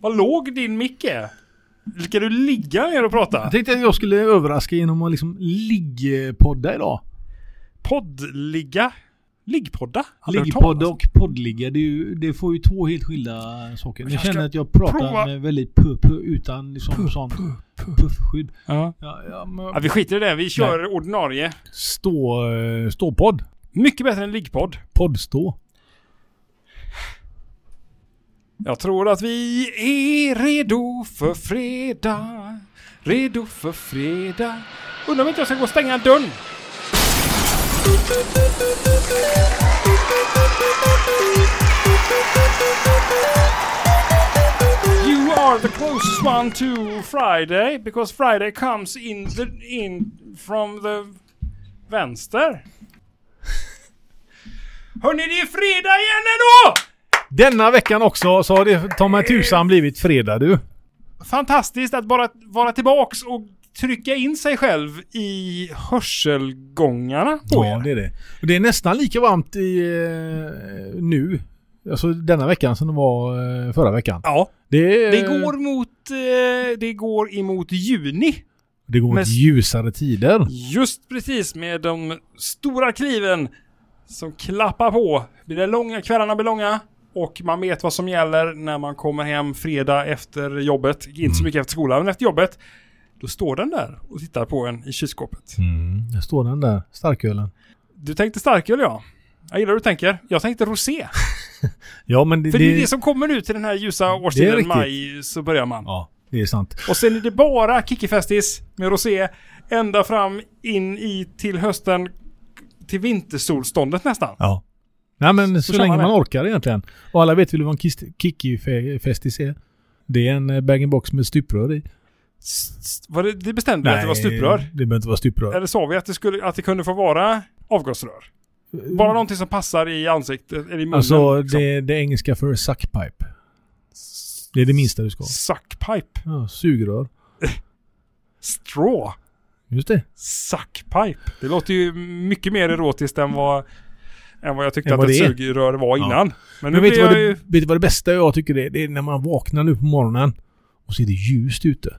Vad låg din mick är. Ska du ligga ner och prata? Jag tänkte att jag skulle överraska genom att liksom liggpodda idag. Poddligga? Liggpodda? Aldrig hört Liggpodd talas. och poddligga, det, är ju, det får ju två helt skilda saker. Men Jag, jag ska känner att jag pratar prova- med väldigt pu, pu, utan liksom sånt puffskydd. Ja. Ja, ja, men- Ja, vi skiter i det. Vi kör ordinarie. Stå, eh, ståpodd. Mycket bättre än liggpodd. Poddstå. Jag tror att vi är redo för fredag. Redo för fredag. Undrar om inte jag ska gå och stänga dörren. You are the closest one to Friday because Friday comes in the in from the vänster. Hörni, det är fredag igen ändå! Denna veckan också så har det ta mig tusan blivit fredag du. fantastiskt att bara vara tillbaks och trycka in sig själv i hörselgångarna på Ja, er. det är det. Och det är nästan lika varmt i, eh, nu, alltså denna veckan som det var eh, förra veckan. Ja, Det, är- det går mot, eh, det går emot juni. det går mot mest- ljusare tider. Just precis med de stora kliven som klappar på. Blir det långa, kvällarna blir långa och man vet vad som gäller när man kommer hem fredag efter jobbet. Inte så mycket efter skolan, men efter jobbet. Då står den där och tittar på en i kylskåpet. Mm, där står den där starkölen. Du tänkte starköl ja. Jag gillar hur du tänker. Jag tänkte rosé. Ja, men det, För det är det som kommer nu till den här ljusa årstiden, riktigt. maj, så börjar man. Ja, det är sant. Och sen är det bara kickifestis med rosé ända fram in i till hösten, till vintersolståndet nästan. Ja. Nej, men så, kör länge man man det. orkar egentligen. Och alla vet väl vad en kist- kicki-festis är? Det är en eh, bag-in-box med stuprör i. S- s- Var det, det bestämde vi att det var stuprör. Det behöver inte vara stuprör. Eller sa vi att det, skulle, att det kunde få vara avgasrör? Bara någonting som passar i ansiktet, eller i munnen. Mm. Alltså, liksom. det, det är engelska för suckpipe. Det är det minsta du ska ha. Suckpipe. Ja, sugrör. Straw. Just det. Suckpipe. Det låter ju mycket mer erotiskt än vad, än vad jag tyckte Än att vad ett det är. sugrör var Ja. innan. Men nu Men blir vet du, vad jag det, ju... vet du vad det bästa jag tycker det är? Det är när man vaknar nu på morgonen och ser det ljust ute.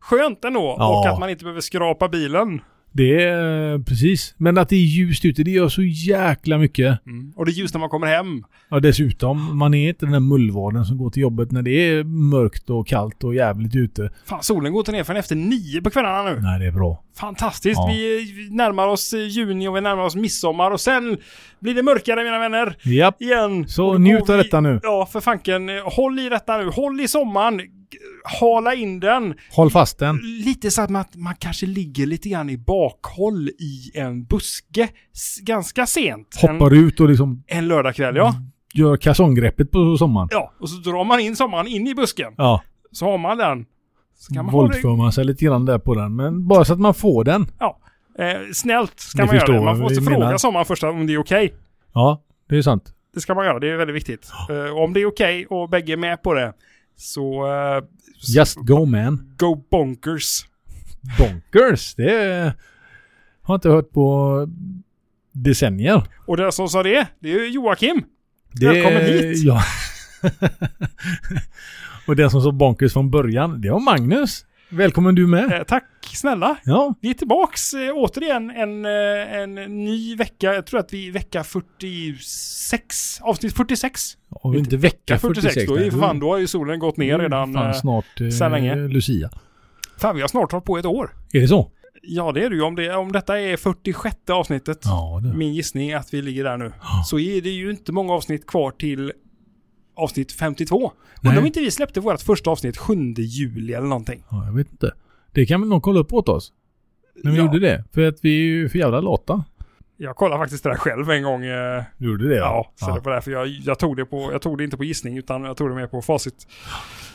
skönt ändå. Ja. Och att man inte behöver skrapa bilen. Det är eh, precis. Men att det är ljust ute, det gör så jäkla mycket. Och det är ljust när man kommer hem. Ja, dessutom, man är inte den där mullvaden som går till jobbet när det är mörkt och kallt och jävligt ute. Fan, solen går inte ner förrän efter nio på kvällarna nu. Nej, det är bra. Fantastiskt. Ja. Vi vi närmar oss eh, juni och vi närmar oss midsommar. Och sen blir det mörkare, mina vänner. Japp. Igen. Så Och då njut går av vi- detta nu. Ja, för fanken. eh, Håll i detta nu. Håll i sommaren. G- Hala in den. Håll fast den. Lite så att man, man kanske ligger lite grann i bakhåll i en buske. S- ganska sent. En, Hoppar ut och liksom en lördagkväll, ja. gör kalsonggreppet på sommaren. Ja, och så drar man in sommaren in i busken. Ja. Så har man den. Så kan man ha det Våldför man sig lite grann där på den. Men bara så att man får den. eh, snällt. Ska Ni man göra förstår det. Man vad måste vi fråga menar. sommaren först om det är okej. Ja, det är sant. Det ska man göra. Det är väldigt viktigt. Eh, om det är okej och bägge är med på det så eh, s- Just go man. go bonkers. Bonkers. Det är... har jag inte hört på decennier. Och den som sa det, det är ju Joakim. Det... Välkommen hit. Ja. och den som sa bonkers från början, det var Magnus. Välkommen du med. Eh, tack snälla. Ja, Vi är tillbaks eh, återigen en, eh, en ny vecka. Jag tror att vi är vecka 46, avsnitt 46. och inte vecka 46. då, är ju nej. för fan, då har ju solen gått ner redan. Fan, eh, snart eh, sedan länge. Lucia. Fan, vi har snart hållit på ett år. Är det så? Ja, det är det ju. Om, det, om detta är 46 avsnittet, Ja, det. min gissning är att vi ligger där nu, så är det ju inte många avsnitt kvar till avsnitt 52. Nej. Undrar om inte vi släppte vårt första avsnitt 7 juli eller någonting. Ja, jag vet inte. Det kan väl någon kolla upp åt oss? När vi Ja. gjorde det. För att vi är ju för jävla lata. Jag kollade faktiskt det där själv en gång. eh, Ja, Du gjorde det? så det var därför jag, jag, tog det på, jag tog det inte på gissning utan jag tog det mer på facit.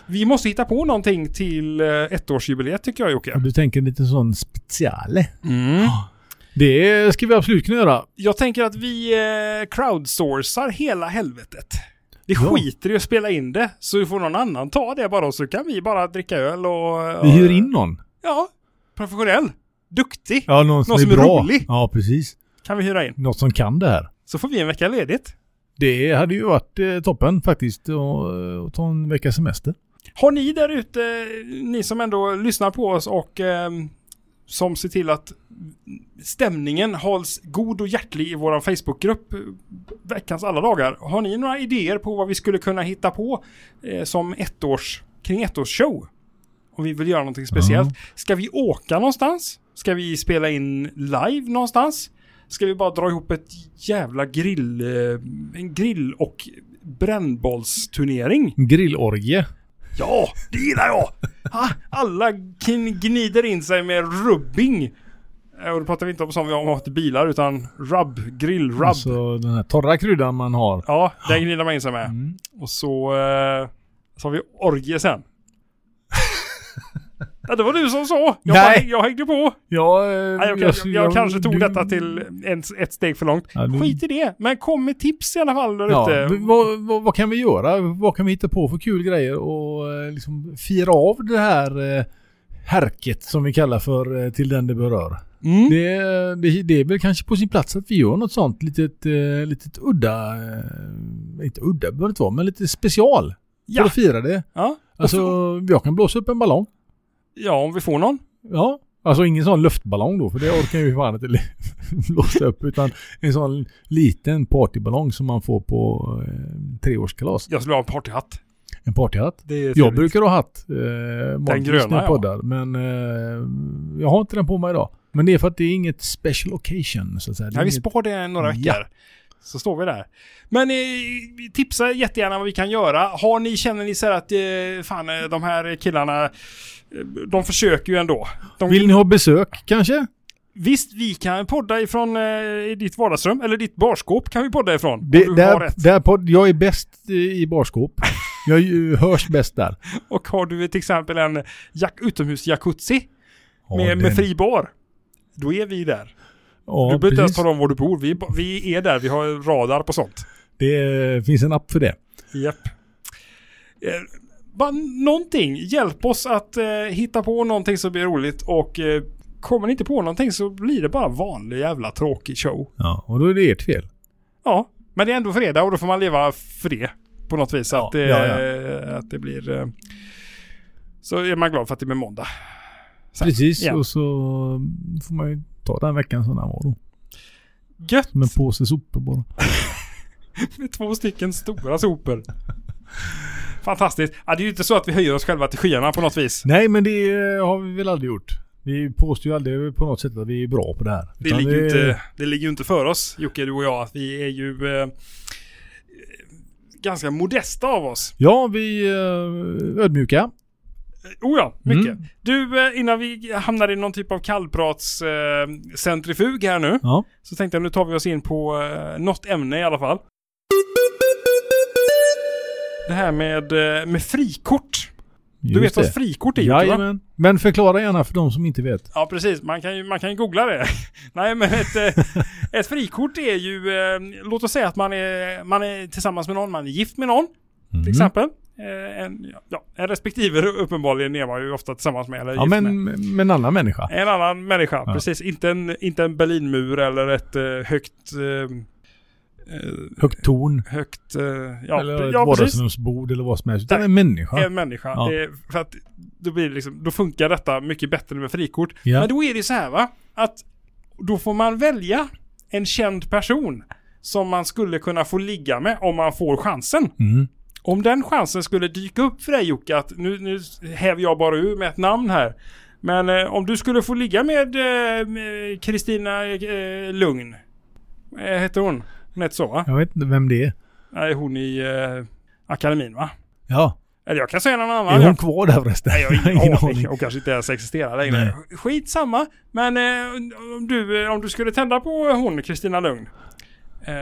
Vi måste hitta på någonting till eh, ettårsjubileet tycker jag Jocke. Du tänker lite sån speciale. Mm. Det ska vi absolut kunna göra. Jag tänker att vi eh, crowdsourcar hela helvetet. Vi Ja. skiter i att spela in det, så får någon annan ta det bara och så kan vi bara dricka öl och... Vi och- hyr in någon. Ja, professionell. Duktig Ja, någon som, Någon är, som är bra. rolig. Ja, precis. kan vi hyra in. Något som kan det här. Så får vi en vecka ledigt. Det hade ju varit eh, toppen faktiskt. att- Att ta eh, en veckas semester. Har ni där ute, ni som ändå lyssnar på oss och eh, som ser till att stämningen hålls god och hjärtlig i vår Facebookgrupp eh, veckans alla dagar. Har ni några idéer på vad vi skulle kunna hitta på eh, som ettårs, kring ettårsshow? Om vi vill göra någonting speciellt. Ska vi åka någonstans? Ska vi spela in live någonstans? Ska vi bara dra ihop ett jävla grill, eh, en grill och brännbollsturnering? Grillorgie. Ja, det gillar jag! Ha, Ah, alla gn- gnider in sig med rubbing. Eh, Och då pratar vi inte om som vi har haft i bilar utan rubb, grillrubb. Alltså den här torra kryddan man har. Ja, den gnider man in sig med. Mm. Och så, eh, så har vi orgie sen. ja, det var du som sa. Jag, Nej. bara, jag hängde på. Ja, eh, Nej, jag, jag, jag, Mm. kanske tog detta till en, ett steg för långt. Ja, du- Skit i det, men kom med tips i alla fall där Ja, ute. men vad, vad, vad kan vi göra? Vad kan vi hitta på för kul grejer och eh, liksom fira av det här eh, härket som vi kallar för eh, till den det berör. Mm. Det, det, det är väl kanske på sin plats att vi gör något sånt litet, eh, litet udda, eh, inte udda behöver det inte vara, men lite special för Ja. att fira det. Ja. Alltså jag kan blåsa upp en ballong. ja, om vi får någon. Ja, alltså ingen sån luftballong då för det orkar ju fan inte blåsa upp utan en sån liten partyballong som man får på eh, treårskalas. Jag skulle ha en partyhatt. En partyhatt. Det är Jag trevligt. brukar ha hatt. Eh, vanligtvis gröna, när jag ja. poddar, Men eh, jag har inte den på mig idag. Men det är för att det är inget special occasion så att säga. Det är Nej, vi inget- spar det några veckor. Ja. Så står vi där. Men eh, tipsa jättegärna vad vi kan göra. Har ni, känner ni så här att eh, fan eh, de här killarna, eh, de försöker ju ändå. De, Vill ni ha besök kanske? Visst, vi kan podda ifrån eh, ditt vardagsrum, eller ditt barskåp kan vi podda ifrån. om Det, du har där, rätt. där podd, jag är bäst i i barskåp. Jag eh, hörs bäst där. Och har du till exempel en jack, utomhus-jacuzzi Ja, med, den- med fri bar, då är vi där. ja, du behöver inte ens precis. tala om var du bor. Vi, är ba- vi är där, vi har radar på sånt. Det eh, finns en app för det. Japp. Eh, bara någonting. Hjälp oss att eh, hitta på någonting som blir roligt och eh, kommer ni inte på någonting så blir det bara vanlig jävla tråkig show. Ja, och då är det ert fel. Ja, men det är ändå fredag och då får man leva för det på något vis. Ja, att, det, ja, eh, att det blir... Eh, så är man glad för att det blir måndag. Sen. Precis, Ja. och så får man ju ta den veckan som den var då. Gött Som en påse sopor bara. med två stycken stora sopor. Fantastiskt. Ja, det är ju inte så att vi höjer oss själva till skyarna på något vis. Nej, men det eh, har vi väl aldrig gjort. Vi påstår ju aldrig på något sätt att vi är bra på det här. Det Utan ligger, ju inte, det ligger ju inte för oss, Jocke, du och jag, att vi är ju eh, ganska modesta av oss. Ja, vi eh, ödmjuka. Eh, Oh ja, mycket. Mm. Du, eh, innan vi hamnar i någon typ av kallprats eh, centrifug här nu, Ja. så tänkte jag nu tar vi oss in på eh, något ämne i alla fall. Det här med, eh, med frikort. Du vet vad frikort är, Jocke, va? Jajamän. Men förklara gärna för de som inte vet. Ja, precis. Man kan ju, man kan ju googla det. Nej, men ett, eh, ett frikort är ju... Eh, låt oss säga att man är, man är tillsammans med någon, man är gift med någon, Mm. till exempel. Eh, en, ja, en respektive uppenbarligen är man ju ofta tillsammans med, eller Ja, gift men med. med en annan människa. En annan människa, Ja. precis. Inte en, inte en Berlinmur eller ett eh, högt... Eh, eh, Högt torn. högt... Eh, ja, eller ett ja precis. vardagsrumsbord eller vad som helst. Utan Nej. en människa. En människa. Ja. Eh, för att då, blir det liksom, då funkar detta mycket bättre med frikort. Ja. Men då är det så här va, att då får man välja en känd person som man skulle kunna få ligga med om man får chansen. Mm. Om den chansen skulle dyka upp för dig Jocke, att nu, nu häver jag bara ur med ett namn här. Men eh, om du skulle få ligga med eh, med Kristina eh, Lugn. Eh, heter hon? Hon heter så va? Jag vet inte vem det är. Nej, hon i eh, akademin va? Ja. Eller jag kan säga någon annan. är Jag- hon kvar där förresten? Nej, jag har ingen, aning. aning. Hon kanske inte ens existerar längre. Skitsamma. Men eh, om, du, om du skulle tända på hon, Kristina Lugn. Eh,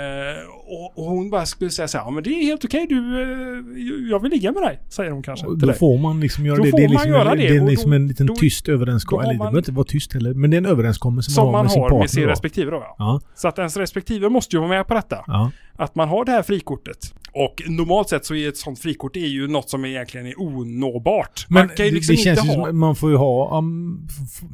och, och hon bara skulle säga så här, ja men det är helt okej, du, eh, jag vill ligga med dig. Säger hon kanske. Och till Då dig. får man liksom göra Då det. får det är man liksom, göra en, det, det är och liksom då- en liten då- tyst då har överenskommelse. Eller, man- Det behöver inte vara tyst heller. Men det är en överenskommelse man Som har man med sin har partner. med sin då. respektive då ja. Ja. Så att ens respektive måste ju vara med på detta. ja. Att man har det här frikortet. Och normalt sett så är ett sånt frikort det är ju något som egentligen är onåbart. Men man kan ju det- liksom det känns inte ju ha... som att man får ju ha... Um, f- f-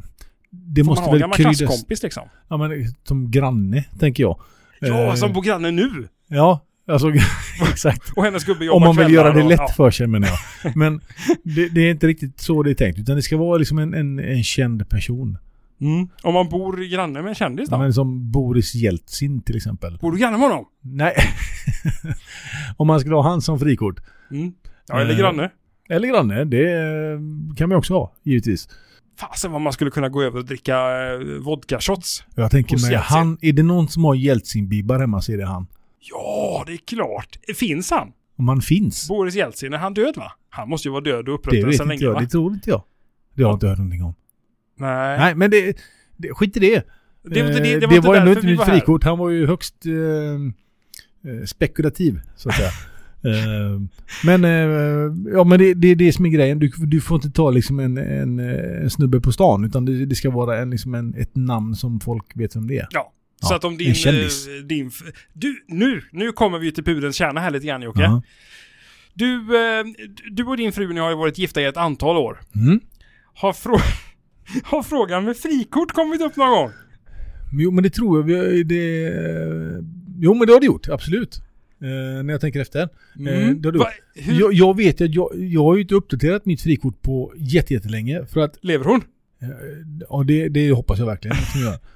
det man måste har en väl gammal kryddas... klasskompis liksom. Ja, men, som granne, tänker jag. Ja, Eh, som bor granne nu. Ja, Alltså, exakt. Och hennes gubbe jobbar Om man vill kvällar göra det och- lätt ja. för sig menar jag. Men det, det är inte riktigt så det är tänkt. Utan det ska vara liksom en, en, en känd person. Mm. Om man bor granne med en kändis då? Men som Boris Jeltsin till exempel. Bor du granne med honom? Nej. Om man skulle ha han som frikort. Mm. Ja, eller Eh. granne. Eller granne, det eh, kan man också ha givetvis. Fasen vad man skulle kunna gå över och dricka eh, vodka-shots. Jag tänker Hos mig, Jeltsin. han, är det någon som har Jeltsin-bibbar hemma så är det han. Ja, det är klart. Finns han? Om han finns. Boris Jeltsin, är han död va? Han måste ju vara död och Det upprättad vet sedan inte länge jag, va? det tror inte jag. Det har jag inte hört någonting om. Nej. Nej, men det, det, skit i det. Det, var inte- det, det, Eh, det var inte ändå därför inte vi mitt var här. frikort. Han var ju högst eh, eh, spekulativ, så att säga. Eh, men eh, ja, men det, det är det som är grejen. Du, du får inte ta liksom en, en, eh, en snubbe på stan, utan det, det ska vara en, liksom en, ett namn som folk vet vem det är. Ja. Så Ja, att om en din... kändis. eh, din f- du, nu, nu kommer vi ju till pudelns kärna här lite grann Jocke. Ja. Du, eh, du och din fru ni har ju varit gifta i ett antal år. Mm. Har, frå- har frågan med frikort kommit upp någon gång? Men Jo, men det tror jag. vi har- Det, eh, jo, men det har det gjort. Absolut. Eh, när jag tänker efter. Eh, det har det Va, gjort. hur Jag, jag vet ju att jag, jag har ju inte uppdaterat mitt frikort på jätte- jättelänge. För att lever hon? Eh, Ja, det, det hoppas jag verkligen att hon gör.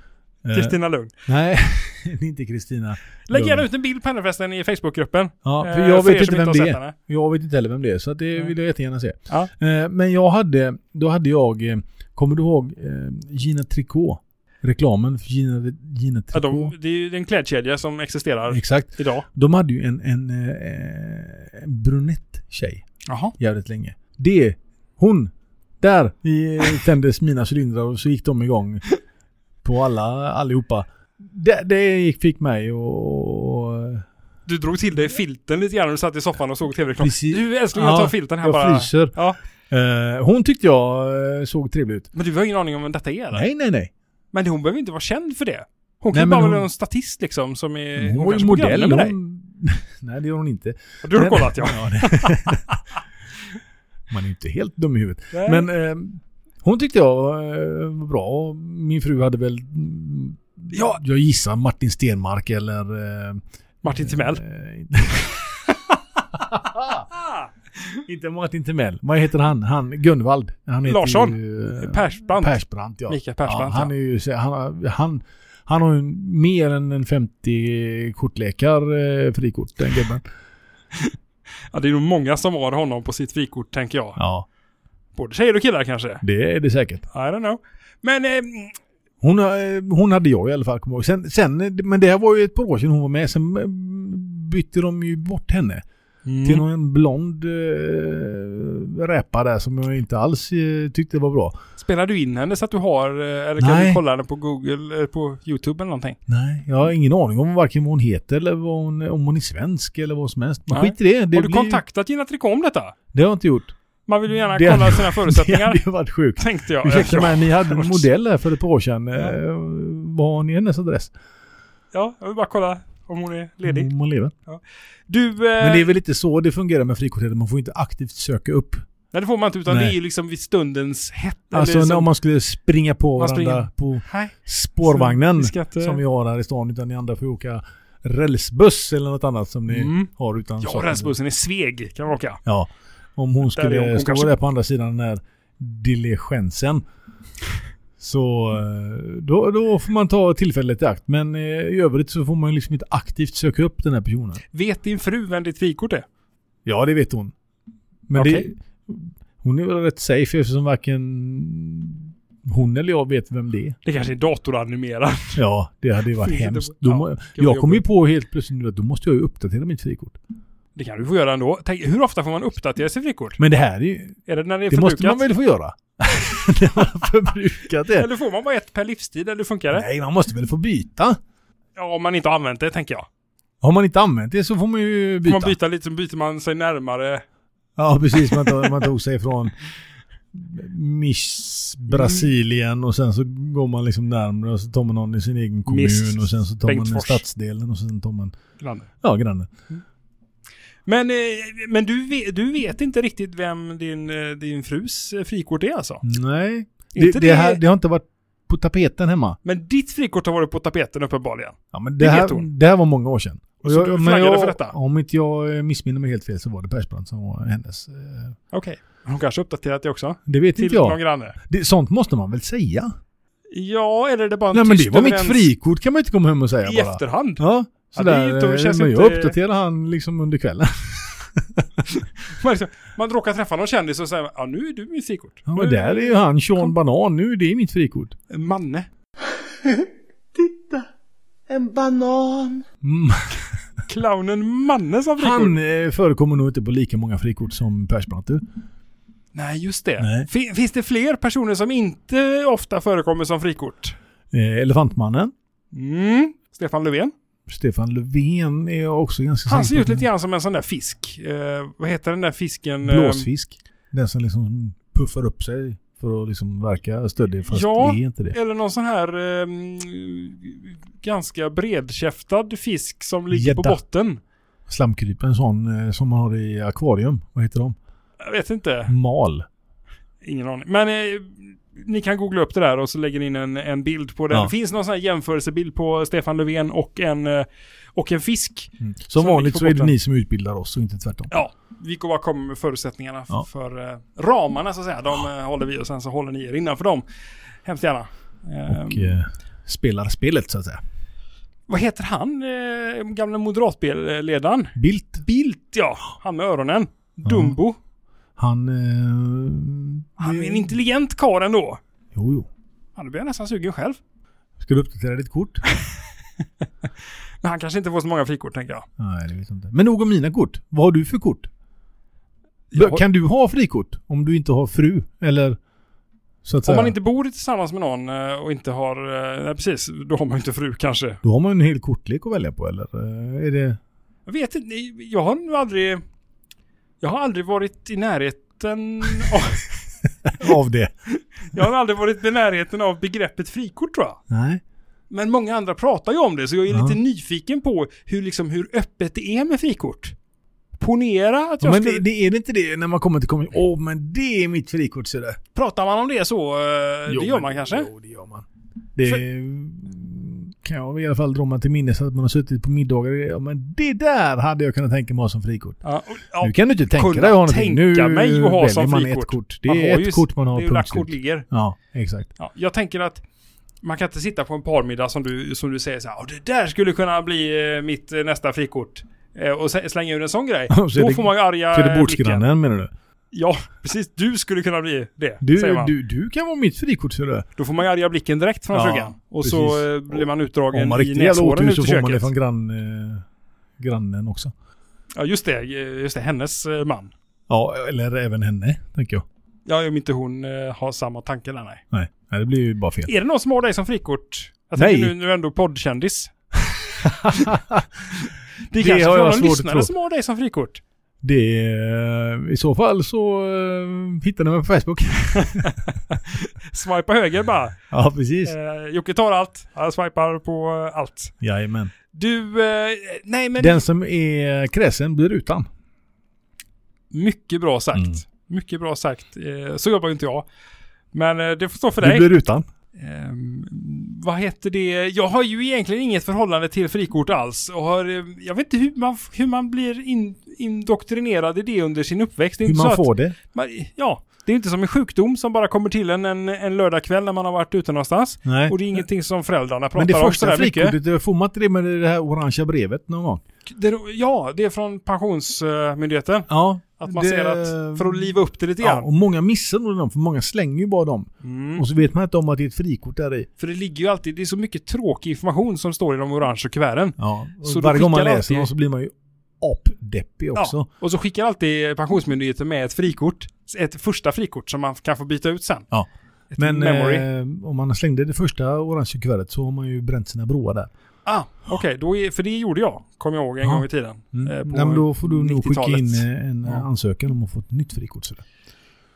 Eh, Kristina Lund. Nej, det är inte Kristina. Lägg gärna Lund. ut en bild på henne förresten i Facebookgruppen. Ja, för Eh, jag för er vet som inte vem har det sett är. henne. Jag vet inte heller vem det är, så att det Nej. vill jag jättegärna se. Ja. Eh, Men jag hade, då hade jag, eh, kommer du ihåg eh, Gina Tricot? Reklamen för Gina, Gina Ja, Tricot. de, det är ju en klädkedja som existerar Exakt. idag. De hade ju en, en, eh, en brunett tjej Jaha. jävligt länge. Det, hon, där i- tändes mina cylindrar och så gick de igång på alla, allihopa. Det, det gick- fick mig och, och Du drog till dig filten lite grann när du satt i soffan och såg tv-reklam. Precis. Du älskling, jag Ja, tar filten här jag bara. fryser. Ja. Eh, hon tyckte jag eh, såg trevlig ut. Men du har ingen aning om vem detta är eller? Nej, nej, nej. Men hon behöver inte vara känd för det. Hon kan Nej, ju men bara vara hon- någon statist liksom som är... Hon var ju kanske går granne modell. med dig. Hon... nej, det gör hon inte. Du har Men- kollat ja. det... Man är ju inte helt dum i huvudet. Men eh, hon tyckte jag eh, var bra. och Min fru hade väl... mm, Ja. Jag gissar Martin Stenmark eller... Eh, Martin Timell. Eh, inte Martin Timell. Vad heter han? Han Gunvald. Han heter Larsson. Ju, eh, Persbrandt. Persbrandt, ja. Mikael Persbrandt, ja, han, är ju, så- han, han, han har ju mer än en 50 kortlekar eh, frikort, den gubben. ja, det är nog många som har honom på sitt frikort tänker jag. Ja, Både tjejer och killar kanske. I det är det säkert. don't know. Men... Eh, Hon, har- eh, hon hade jag i alla fall, kommer jag ihåg. Sen, sen, men det här var ju ett par år sedan hon var med. Sen eh, bytte de ju bort henne till Mm. någon blond äh, räpare där som jag inte alls eh, tyckte var bra. Spelar du in henne så att du har, eh, eller kan Nej. du kolla henne på Google, eh, på YouTube eller någonting? Nej, jag har ingen aning om varken vad hon heter eller vad hon, om hon är svensk eller vad som helst. Men Nej. skit i det. det har du blir ju- kontaktat Gina Tricot om detta? Det har jag inte gjort. Man vill ju gärna Det- kolla sina Det förutsättningar, hade ju varit sjukt. tänkte jag. Ursäkta mig, ni hade en Förlåt. modell här för ett par år sedan. Eh, Vad har ni hennes adress? Ja, jag vill bara kolla om hon är ledig. Om hon lever. Du, eh, Mm. Men det är väl lite så det fungerar med frikortet. Man får inte aktivt söka upp. nej det får man inte utan Nej. det är ju liksom vid stundens hett. eller Alltså när- som- om man skulle springa på Man varandra springer. på Nej, spårvagnen vi ska inte- som vi har här i stan. Utan ni andra får ju åka rälsbuss eller något annat som ni Mm. har utan Ja, saker. rälsbussen är Sveg kan man åka. Ja. Om hon skulle är hon- hon stå kanske- där på andra sidan den här diligensen. Så eh, då, då får man ta tillfället i akt. Men eh, i övrigt så får man ju liksom inte aktivt söka upp den här personen. Vet din fru vem ditt frikort är? Ja, det vet hon. Men Okej. det, hon är väl rätt safe eftersom varken hon eller jag vet vem det är. Det kanske är datoranimerat. Ja, det hade ju varit Finns det- hemskt. ja, Då, må- vara jag kom ju på helt plötsligt nu att då måste jag ju uppdatera mitt frikort. Det kan du få göra ändå. Tänk, hur ofta får man uppdatera sitt frikort? Men det här är ju... Är det när det är Det måste man förbrukat? väl få göra? När man har förbrukat det. Eller får man bara ett per livstid eller hur funkar det? Nej, man måste väl få byta? Ja, om man inte har använt det tänker jag. Har man inte använt det så får man ju Får byta. man byta lite så byter man sig närmare. Ja, precis. Man tog, man tog sig från Miss Brasilien och sen så går man liksom närmare och så tar man någon i sin egen kommun Miss och sen så tar man den Bengtsfors. stadsdelen och sen tar man, Granne. ja grannen. Men, eh, men du, ve- du vet inte riktigt vem din, eh, din frus eh, frikort är alltså? Nej, Inte det, det, här, det- det har inte varit på tapeten hemma. Men ditt frikort har varit på tapeten uppenbarligen. Ja, men Det det, vet här, hon. det här var många år sedan. Och Så du flaggade jag, för detta? Om inte jag eh, missminner mig helt fel så var det Persbrandt som var hennes. eh, Okej. Hon kanske uppdaterat det också? Det vet Till inte någon jag. granne? Det, sånt måste man väl säga? Ja, eller är det bara en Nej men tyst det var mitt överens frikort kan man inte komma hem och säga I bara. efterhand? Ja, Ja, det är sådär. inte- det känns men jag inte- uppdaterar han liksom under kvällen. Man, liksom, man råkar träffa någon kändis och säger ja nu är du mitt frikort. Ja, men där är ju han Sean Banan nu, det är mitt frikort. Manne. Titta, en banan. Mm. Clownen Manne som frikort. Han eh, förekommer nog inte på lika många frikort som Persbrandt du. Nej, just det. Nej. Fin- Finns det fler personer som inte ofta förekommer som frikort? Eh, Elefantmannen. Mm. Stefan Löfven. Stefan Löfven är jag också ganska Han ser säker på ut att- lite grann som en sån där fisk. Eh, vad heter den där fisken? Eh, Blåsfisk. Den som liksom puffar upp sig för att liksom verka stöddig fast Ja. är inte det. Eh, Eller någon sån här eh, ganska bredkäftad fisk som ligger på Gädda. botten. Slamkryp, en sån eh, som man har i akvarium. Vad heter de? Jag vet inte. Mm. Mal. Ingen aning. Men eh, ni kan googla upp det där och så lägger ni in en, en bild på den. Ja. Det finns någon sån här jämförelsebild på Stefan Löfven och en, eh, och en fisk. Som, Mm. Som vanligt ligger på så är det botten. ni som utbildar oss och inte tvärtom. Ja, vi kommer bara komma med förutsättningarna f- Ja. för eh, ramarna så att säga. De eh, håller vi och sen så håller ni er innanför dem. Hemskt gärna. Ehm, Och eh, spelar spelet så att säga. Vad heter han, eh, gamla moderatledaren? Bildt, Bildt ja, han med öronen. Dumbo. han... Eh, Han Mm. är en intelligent karl ändå. Jo, jo. Han blir jag nästan sugen själv. Ska du uppdatera ditt kort? Men han kanske inte får så många frikort tänker jag. Nej, det vet jag inte. Men nog om mina kort. Vad har du för kort? Jag har- Kan du ha frikort? Om du inte har fru? Eller... Så att Om säga. man inte bor tillsammans med någon eh, och inte har... eh, Nej, precis. Då har man ju inte fru kanske. Då har man ju en hel kortlek att välja på, eller? eh, Är det... Jag vet inte. Jag har nog aldrig... Jag har aldrig varit i närheten... av, Av det? jag har aldrig varit i närheten av begreppet frikort tror jag. Nej. Men många andra pratar ju om det, så jag är Ja. lite nyfiken på hur, liksom, hur öppet det är med frikort. Ponera att jag men skulle... det, det är det inte det när man kommer till kommun. Åh, men det är mitt frikort, ser du. Pratar man om det så, eh, Jo, det gör men- man kanske. Jo, det gör man. Det kan jag i alla fall dra mig till minnes att man har suttit på middagar. Ja, men det där hade jag kunnat tänka mig ha som frikort. Ja, och- ja, nu kan du inte tänka kunna dig att ha någonting. tänka Nu mig att ha väljer som man frikort. ett kort. Det Man är har ett ju- kort man har. det är ju Eh, där Punkt kort slut. ligger. Ja, exakt. Ja, jag tänker att man kan inte sitta på en parmiddag som du, som du säger så här, "Åh, det där skulle kunna bli eh, mitt eh, nästa frikort. Eh, och sä- slänga ur en sån grej. Så är Då det- får man ju arga Så är det eh, blicken. bordsgrannen menar du? Ja, precis. Du skulle kunna bli det, säger Du, man. du, du kan vara mitt frikort ser du. Då får man ju arga blicken direkt från Ja, frugan. Och så eh, blir man Om utdragen man i riktigt jävla näshåren otur ut så i får man det köket. från grann, eh, grannen också. Ja, just det. eh, Just det. Hennes eh, man. Ja, eller även henne, tänker jag. Ja, om inte hon eh, har samma tanke där, nej. Nej, nej det blir ju bara fel. Är det någon som har dig som frikort? Jag Nej. tänker nu, nu är du ändå poddkändis. Det, Det kanske har var jag någon svårt att tro. lyssnare som har dig som frikort. Det är, I så fall så eh, hittar ni mig på Facebook. Swipa höger bara. ja, precis. Eh, Jocke tar allt. Han swipar på eh, allt. Jajamän. Du, eh, nej men Den som är kräsen blir utan. mycket bra sagt. Mm. Mycket bra sagt. Eh, så jobbar ju inte jag. Men eh, det får stå för Du dig. blir utan. Ehm, vad heter det? Jag har ju egentligen inget förhållande till frikort alls. Och har, eh, jag vet inte hur man, hur man blir in, indoktrinerad i det under sin uppväxt. Det är Hur inte så man att- får det. Man, ja, det är inte som en sjukdom som bara kommer till en en, en lördagkväll när man har varit ute någonstans. Nej. Och det är ingenting som föräldrarna pratar Men det om första sådär mycket. frikortet, eh, får man inte det med det här orangea brevet någon gång? Det, ja, det är från Pensionsmyndigheten. Ja. Att man ser att, för att liva upp det lite Ja, grann. och många missar nog dem, för många slänger ju bara dem. Mm. Och så vet man inte om att det är ett frikort där i. För det ligger ju alltid, det är så mycket tråkig information som står i de orangea kuverten. Ja. Så Så du varje gång man skickar läser alltid- dem så blir man ju apdeppig också. Ja, och så skickar alltid Pensionsmyndigheten med ett frikort. Ett första frikort som man kan få byta ut sen. Ja. Ett Men memory. eh, om man slängde det första orangea kuvertet så har man ju bränt sina broar där. ah, okej. då är- för det gjorde jag, kommer jag ihåg, en Ja. Mm. gång i tiden. eh, på Nej, men då får du nog skicka 90-talet. in eh, en Ja. ansökan om att få ett nytt frikort. Sådär.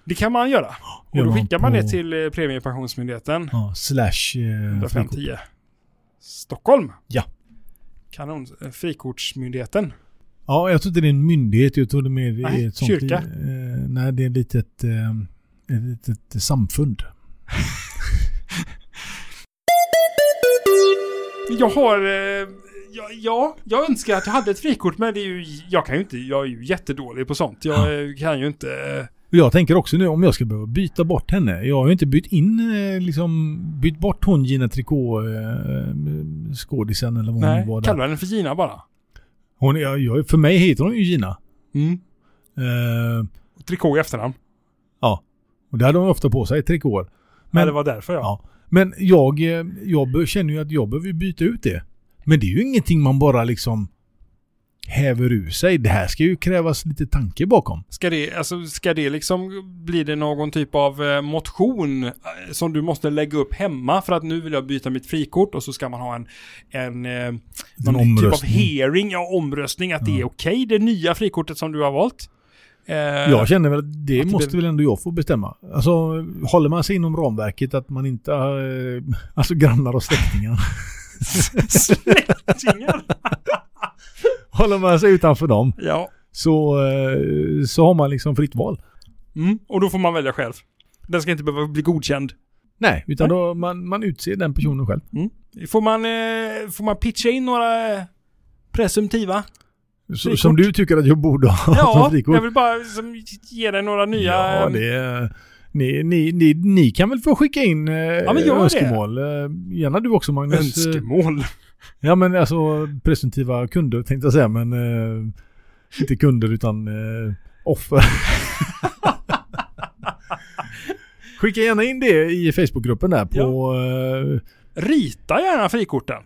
Det kan man göra. Och Gör då man skickar man på- det till eh, Premiepensionsmyndigheten. Ja, slash eh, frikort. 10510. Stockholm. Ja. Kanon. eh, Frikortsmyndigheten. Ja, jag tror inte det är en myndighet. Jag tror det är mer Nej, är ett sånt... kyrka. Eh, nej, det är ett litet, eh, ett litet samfund. Jag har... eh, ja, ja, jag önskar att jag hade ett frikort men det är ju, jag kan ju inte, jag är ju jättedålig på sånt. Jag eh, kan ju inte... eh, Och Jag tänker också nu om jag ska behöva byta bort henne. Jag har ju inte bytt in eh, liksom, bytt bort hon Gina Tricot eh, skådisen eller vad Nej, hon var där. kallar henne för Gina bara. Hon, jag, jag, för mig heter hon ju Gina. Mm. Eh, Trikot i efternamn. ja. Och det hade hon ofta på sig, trikåer. Men- Men, ja, det var därför ja. Ja. Men jag, eh, jag be- känner ju att jag behöver ju byta ut det. Men det är ju ingenting man bara liksom häver ur sig. Det här ska ju krävas lite tanke bakom. Ska det, alltså, ska det liksom, blir det någon typ av eh, motion eh, som du måste lägga upp hemma för att nu vill jag byta mitt frikort och så ska man ha en, en, eh, någon typ av omröstning. hearing, ja omröstning, att det är okej det nya frikortet som du har valt. Eh, Jag känner väl att det att det måste blir- väl ändå jag få bestämma. Alltså håller man sig inom ramverket att man inte, eh, alltså grannar och släktingar. Släktingar! håller man sig utanför dem ja. så, eh, så har man liksom fritt val. Mm. Och då får man välja själv. Den ska inte behöva bli godkänd. Nej, utan då man, man utser den personen själv. Får man, eh, får man pitcha in några eh, presumtiva? Så, Frikort. som du tycker att jag borde ha Ja, som frikort. jag vill bara liksom, ge dig några nya... Ja, eh, det är, ni, ni, ni, ni kan väl få skicka in eh, men gör det. önskemål. Eh, Gärna du också Magnus. Eh, Önskemål. Ja men alltså presumtiva kunder tänkte jag säga men eh, inte kunder utan eh, offer. Skicka gärna in det i Facebookgruppen där på... eh, Rita gärna frikorten.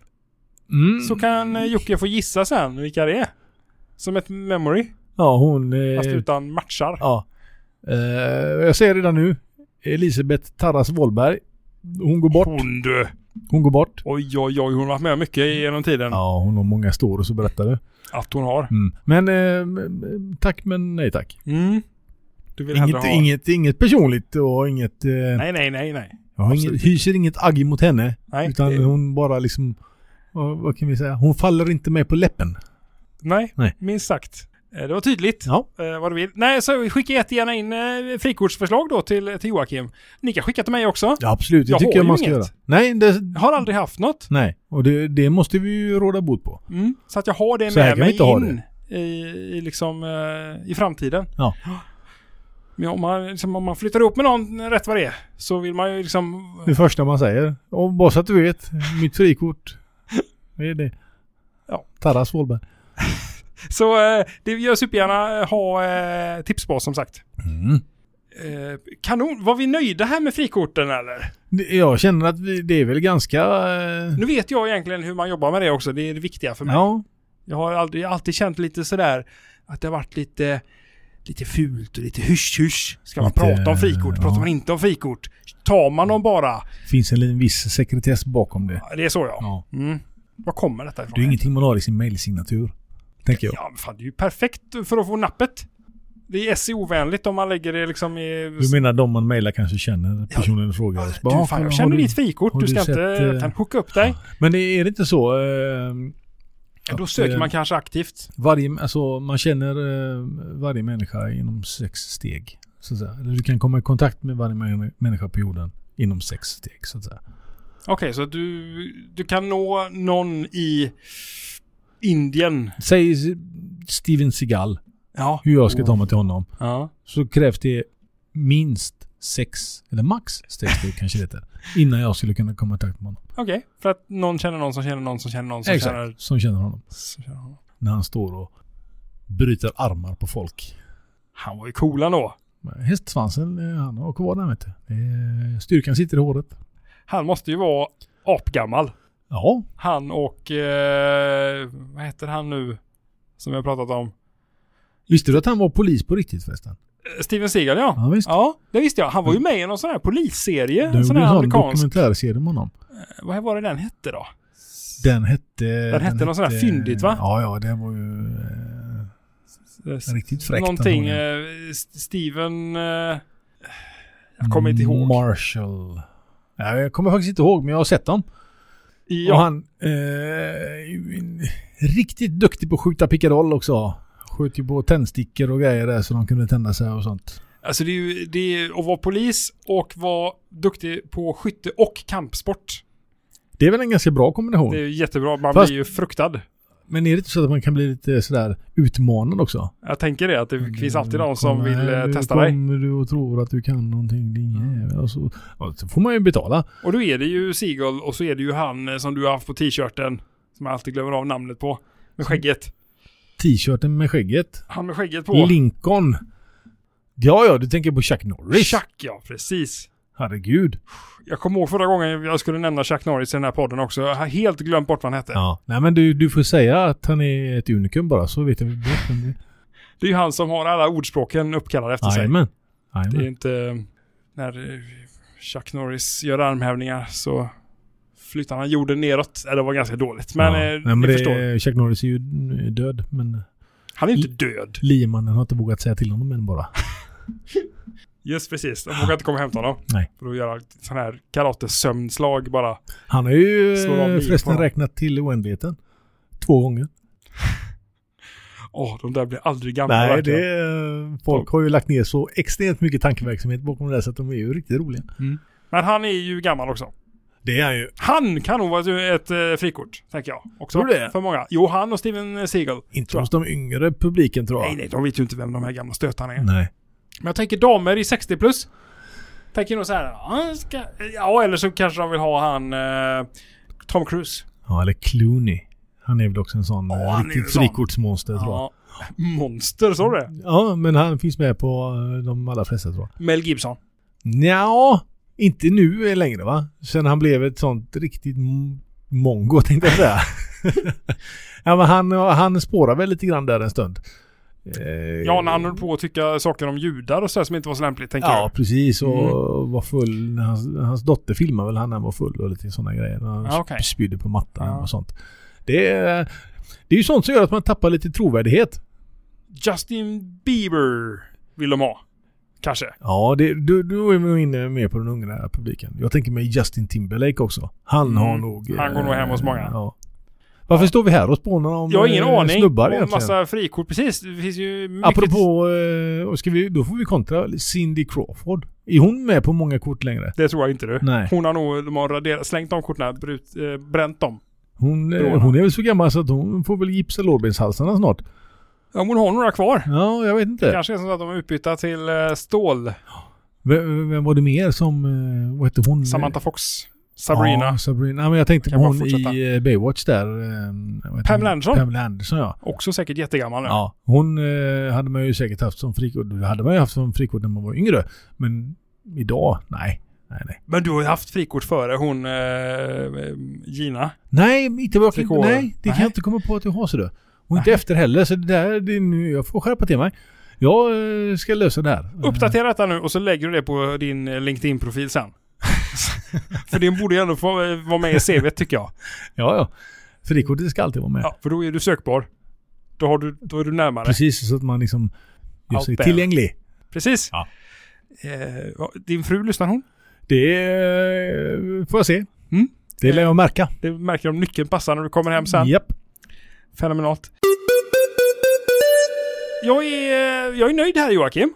mm, Så kan eh, Jocke få gissa sen vilka det är. Som ett memory, ja hon... eh, fast utan matchar. ja. Eh, jag säger redan nu. Elisabeth Tarras Wollberg. Hon går bort. Hon du! Hon går bort. Oj, oj, oj. Hon har varit med mycket genom tiden. Ja, hon har många stories att berätta. det. Att hon har. Mm. Men eh, tack men nej tack. Mm. Du vill hellre Inget, ha... inget, inget personligt och inget... eh, Nej, nej, nej, nej. Jag har Absolut inget, hyser inget agg mot henne. Nej, eh, utan det- hon bara liksom... Vad, vad kan vi säga? Hon faller inte med på läppen. Nej, Nej. minst sagt. Eh, Det var tydligt. Ja. eh, vad du vill. Nej, så skicka jättegärna in eh, frikortsförslag då till, till Joakim. Ni kan skicka till mig också. ja absolut. Det Jag tycker har jag man ju ska inget. göra. Nej, det, Jag har aldrig haft något. nej. Och det, det måste vi ju råda bot på. Mm. Så att jag har det Så med här kan vi mig inte ha in i, i, liksom, eh, i framtiden. Ja. Men om man, liksom, om man flyttar ihop med någon rätt vad det är så vill man ju liksom... Det första man säger. Och bara så att du vet. Mitt frikort. Det är det. Ja. Tarras Wahlberg. Så eh, det gör supergärna eh, ha eh, tips på som sagt. Mm. Eh, kanon, var vi nöjda här med frikorten eller? Det- Jag känner att vi, det är väl ganska... eh, Nu vet jag egentligen hur man jobbar med det också, det är det viktiga för mig. Ja. Jag har aldrig, jag har alltid känt lite sådär att det har varit lite, lite fult och lite hysch-hysch. Ska man Lite, prata om frikort? ja. Pratar man inte om frikort? Tar man dem bara? Finns en liten viss sekretess bakom det. Ja, Det är så ja. Ja. Mm. Var kommer detta ifrån? Det är ingenting man har i sin mailsignatur. Tänker jag. Ja, men fan, det är ju perfekt för att få nappet. Det är SEO-vänligt om man lägger det liksom i... Du menar de man mejlar kanske känner personen i fråga? du, Bara, "Ah, fan, har jag känner du- ditt frikort. har Du du ska inte... sett, eh, Jag kan hooka upp dig. Men det är det inte så? Eh, Då att, söker eh, man kanske aktivt. Varje, alltså, man känner eh, varje människa inom sex steg. Så att säga. Eller du kan komma i kontakt med varje män- människa på jorden inom sex steg. Så att säga. Okej, så du, du kan nå någon i Indien. Säg S- Steven Seagal Ja. hur jag ska ta mig till honom. ja. Så krävs det minst sex, eller max sex steg kanske det heter. Innan jag skulle kunna komma i kontakt med honom. Okej, för att någon känner någon som känner någon som känner någon som känner... Som känner honom. Som känner honom. när han står och bryter armar på folk. Han var ju cool ändå. Men Hästsvansen, eh, han har kvar den vet du. Det är- Styrkan sitter i håret. Han måste ju vara apgammal. Ja, Han och... Eh, vad heter han nu? Som vi har pratat om. visste du att han var polis på riktigt förresten? Eh, Steven Seagal ja. Ja, Mm. visst. Ja, det visste jag. Han var ju med i någon sån här polisserie. det En gjorde sån här en sån amerikansk. dokumentärserie om honom. Vad var det den hette då? Den hette... hette något sånt där fyndigt, va? Ja, ja, det var ju... eh, Eh, Riktigt fräckt, Någonting. antagligen. Eh, S- Steven... Eh, jag kommer eh, inte ihåg. Marshall. Ja, jag kommer faktiskt inte ihåg, men jag har sett dem. ja, Och han... Eh, är ju en- riktigt duktig på att skjuta pickadoll också. Sköt ju på tändstickor och grejer där så de kunde tända sig och sånt. Alltså det är ju det är att vara polis och vara duktig på skytte och kampsport. Det är väl en ganska bra kombination. Det är ju jättebra. Man Fast- blir ju fruktad. Men är det inte så att man kan bli lite sådär utmanad också? Jag tänker det, att det Mm, finns alltid de som Kom vill här, eh, nu testa dig. kommer du och tror att du kan någonting din jävel. Och så, och så får man ju betala. Och då är det ju Seagull och så är det ju han eh, som du har haft på t-shirten. Som jag alltid glömmer av namnet på. Med skägget. T-shirten med skägget. Han med skägget på. Lincoln. Ja, ja, du tänker på Chuck Norris. Chuck ja, precis. Herregud. Jag kommer ihåg förra gången jag skulle nämna Chuck Norris i den här podden också. Jag har helt glömt bort vad han hette. Ja. Nej, men du, du får säga att han är ett unikum bara så vet jag direkt vem det är. Det är ju han som har alla ordspråken uppkallade efter sig. Jajamän. Det är Jajamän. inte... När eh, Chuck Norris gör armhävningar så flyttar han jorden neråt. Eller det var ganska dåligt. Men, Ja. eh, Nej, men ni det, förstår. Chuck Norris är ju död, men Han är ju inte död. liemannen har inte vågat säga till honom än bara. Just precis. De vågar inte komma och hämta honom. Nej. För att göra sån här karatesömnslag bara. Han har ju Slår av eh, bil på förresten honom. räknat till oändligheten. Två gånger. Åh, de där blir aldrig gamla Nej, verkligen. det, är- folk har ju lagt ner så extremt mycket tankeverksamhet bakom det där så att de är ju riktigt roliga. Men han är ju gammal också. Det är ju. Han kan nog vara ett, ett eh, frikort, tänker jag. Också. Tror du det? För många. Jo, han och Steven eh, Seagal. Inte Tror hos de yngre publiken tror jag. Nej, nej, de vet ju inte vem de här gamla stötarna är. Nej. Men jag tänker damer i 60 plus. Tänker nog så här. "Ja, Ska, ja, eller så kanske de vill ha han eh, Tom Cruise. Ja, eller Clooney. Han är väl också en sån Ja, eh, han är ju riktigt sån. frikortsmonster tror jag. Mm. Ja. Monster, sa du det? Ja, men han finns med på eh, de allra flesta tror jag. Mel Gibson. Nja, inte nu längre va? Sen han blev ett sånt riktigt m- mongo tänkte jag säga. ja, men han, han spårar väl lite grann där en stund. Eh, Ja, när han höll på att tycka saker om judar och sådär som inte var så lämpligt, tänker Ja, ja. precis. Och Mm. var full. när Hans, hans dotter filmade väl han när han var full och lite sådana grejer. När Han Ja, okej. sp- spydde på mattan Ja. och sånt. Det är, det är ju sånt som gör att man tappar lite trovärdighet. jag. Justin Bieber vill de ha. Kanske. Ja, det, du, du är nog inne mer på den unga publiken. Jag tänker mig Justin Timberlake också. Han Mm. har nog... Han går nog hem hos många. Ja. Varför står vi här och spånar om Jag har ingen eh, aning. snubbar och egentligen? massa frikort. Precis, det finns ju mycket... Apropå... eh, och ska vi, då får vi kontra Cindy Crawford. Är hon med på många kort längre? Det tror jag inte du. Nej. Hon har nog de har raderat, slängt de korten, brut, eh, bränt dem. Hon, eh, Bra. hon är väl så gammal så att hon får väl gipsa lårbenshalsarna snart. Ja, men hon har några kvar. Ja, jag vet Det inte. kanske är så att de är utbytta till eh, stål. Vem, vem var det mer som... eh, Vad hette hon? Samantha Fox, Sabrina. Ja, Sabrina. Ja, men jag tänkte Kan på bara hon fortsätta. i eh, Baywatch där. eh, vad heter Pamela hon? Anderson? Pamela Anderson, ja. Också säkert jättegammal nu. Ja, hon eh, hade man ju säkert haft som frikort. Det hade man ju haft som frikort när man var yngre. Men idag, nej. Nej, nej. Men du har ju haft frikort före hon eh, eh, Gina. Nej, inte vad jag kan, Frikår. Nej, det kan Nej. jag inte komma på att jag har sådär. Och inte efter heller, så det där, det är nu, jag får skärpa till mig. Jag eh, ska lösa det här. Uppdatera detta nu och så lägger du det på din eh, LinkedIn-profil sen. för det borde ju ändå få eh, vara med i CV tycker jag. Ja, ja. Frikortet ska alltid vara med. Ja, för då är du sökbar. Då, har du, då är du närmare. Precis, så att man liksom gör Allt sig där. tillgänglig. Precis. Ja. Eh, ja, din fru, lyssnar hon? Det eh, får jag se. Mm. Det lär jag märka. Det märker om nyckeln passar när du kommer hem sen. Japp. Fenomenalt. Jag är, eh, jag är nöjd här Joakim.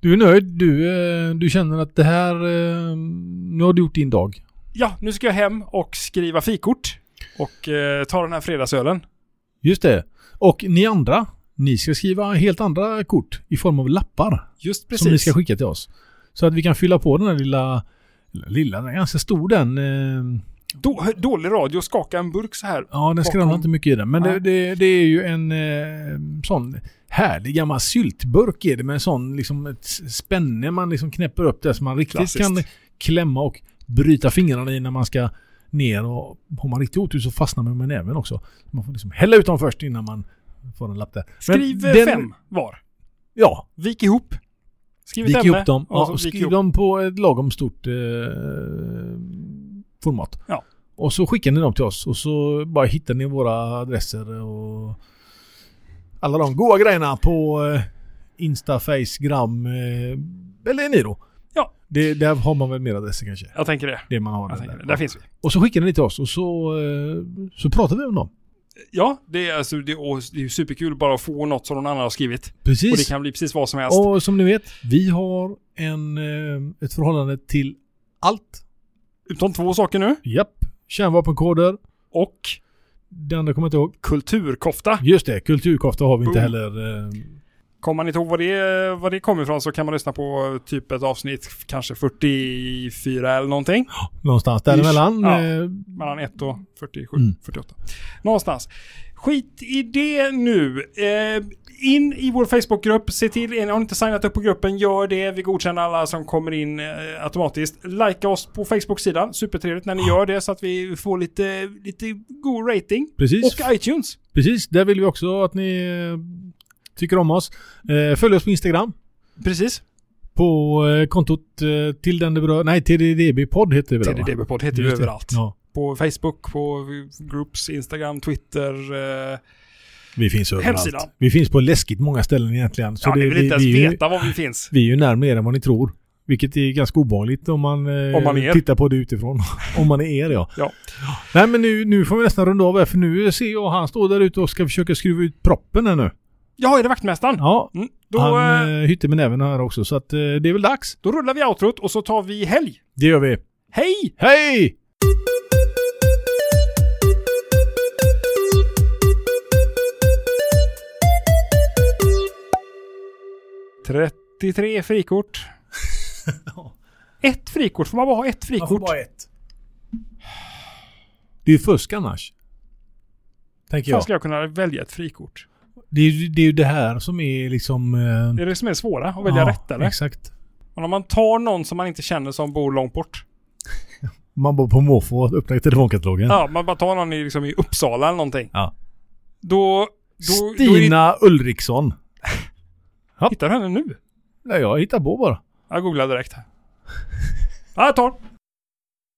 Du är nöjd. Du, eh, du känner att det här... eh, Nu har du gjort din dag. Ja, nu ska jag hem och skriva fikort. Och eh, ta den här fredagsölen. Just det. Och ni andra, ni ska skriva helt andra kort i form av lappar Just som ni precis. ska skicka till oss. Så att vi kan fylla på den här lilla, eller lilla, den är ganska stor den. eh, Då, dålig radio, skaka en burk så här. Ja, den skramlar Bakom- inte mycket i den. Men det, Nej. det, det är ju en eh, sån härlig gammal syltburk är det med en sån liksom ett spänne man liksom knäpper upp där som man riktigt Klassiskt. kan klämma och bryta fingrarna i när man ska ner och har man riktigt otur så fastnar man med näven också. Man får liksom hälla ut dem först innan man får en lapp där. Men Skriv eh, den- fem var. Ja, Vik ihop. Skriv ett Vik ämne ihop dem. och Ja, så och vik skriv ihop. dem på ett lagom stort eh, format. Ja. Och så skickar ni dem till oss och så bara hittar ni våra adresser och alla de goa grejerna på eh, Insta, Face, Gram eh, eller Niro. Ja. Det, där har man väl mer adresser kanske? Jag tänker det. Det man har Jag där. tänker det. Där finns vi. Och så skickar ni till oss och så, eh, så pratar vi om dem. Ja, det är, alltså, det, och det är ju superkul bara att få något som någon annan har skrivit. Och det Precis. kan bli precis vad som helst. Och, som ni vet, vi har en, eh, ett förhållande till allt. Utom två saker nu. Japp. Kärnvapenkoder. Och Det andra kommer jag inte ihåg. Kulturkofta. Just det, kulturkofta har vi inte Boom. heller. eh, Kommer man inte ihåg var det, var det kommer ifrån så kan man lyssna på typ ett avsnitt, kanske 44 eller någonting. Någonstans Ish. däremellan. Ja. eh, Mellan 1 och 47, Mm. 48. Någonstans. Skit i det nu. Eh, in i vår Facebookgrupp, se till, är ni- har ni inte signat upp på gruppen, gör det. Vi godkänner alla som kommer in eh, automatiskt. Likea oss på Facebook-sidan, supertrevligt när ni gör det så att vi får lite, lite god rating. Precis, Och iTunes. precis. Där vill vi också att ni eh, tycker om oss. Eh, Följ oss på Instagram. Precis. På eh, kontot eh, till den det berör. Nej, TDDB-podd heter det väl? va? TDDB-podd heter ju Just det. överallt. Ja, På Facebook, på Groups, Instagram, Twitter. Eh, vi finns överallt. Hemsidan. Vi finns på läskigt många ställen egentligen. Så ja, ni det- vill det- inte ens vi är ju- veta var vi finns. Vi är ju närmare er än vad ni tror. Vilket är ganska ovanligt om man, eh, Om man är er. tittar på det utifrån. om man är er ja. Ja. Nej men nu, nu får vi nästan runda av här för nu ser jag han står där ute och ska försöka skruva ut proppen här nu. Ja, är det vaktmästaren? Ja, Mm, då, han eh, eh, hytter med näven här också så att eh, det är väl dags. då rullar vi outrot och så tar vi helg. Det gör vi. Hej! Hej! Trött. 33 frikort. ett frikort? Får man bara ha ett frikort? ett. Det är ju fusk annars. Tänker Fan jag. ska jag kunna välja ett frikort? Det är, ju- det är ju det här som är liksom... eh, Det är det som är det svåra, att välja ja, rätt eller? Exakt. Men om man tar någon som man inte känner som bor långt bort. Man bor på måfå och öppnar telefonkatalogen. Ja, man bara tar någon i, liksom, i Uppsala eller någonting. Ja. Då... då Då är det, Stina Ulriksson. hittar du henne nu? Nej, jag hittar på bara. Jag googlar direkt här. Ja, jag tar.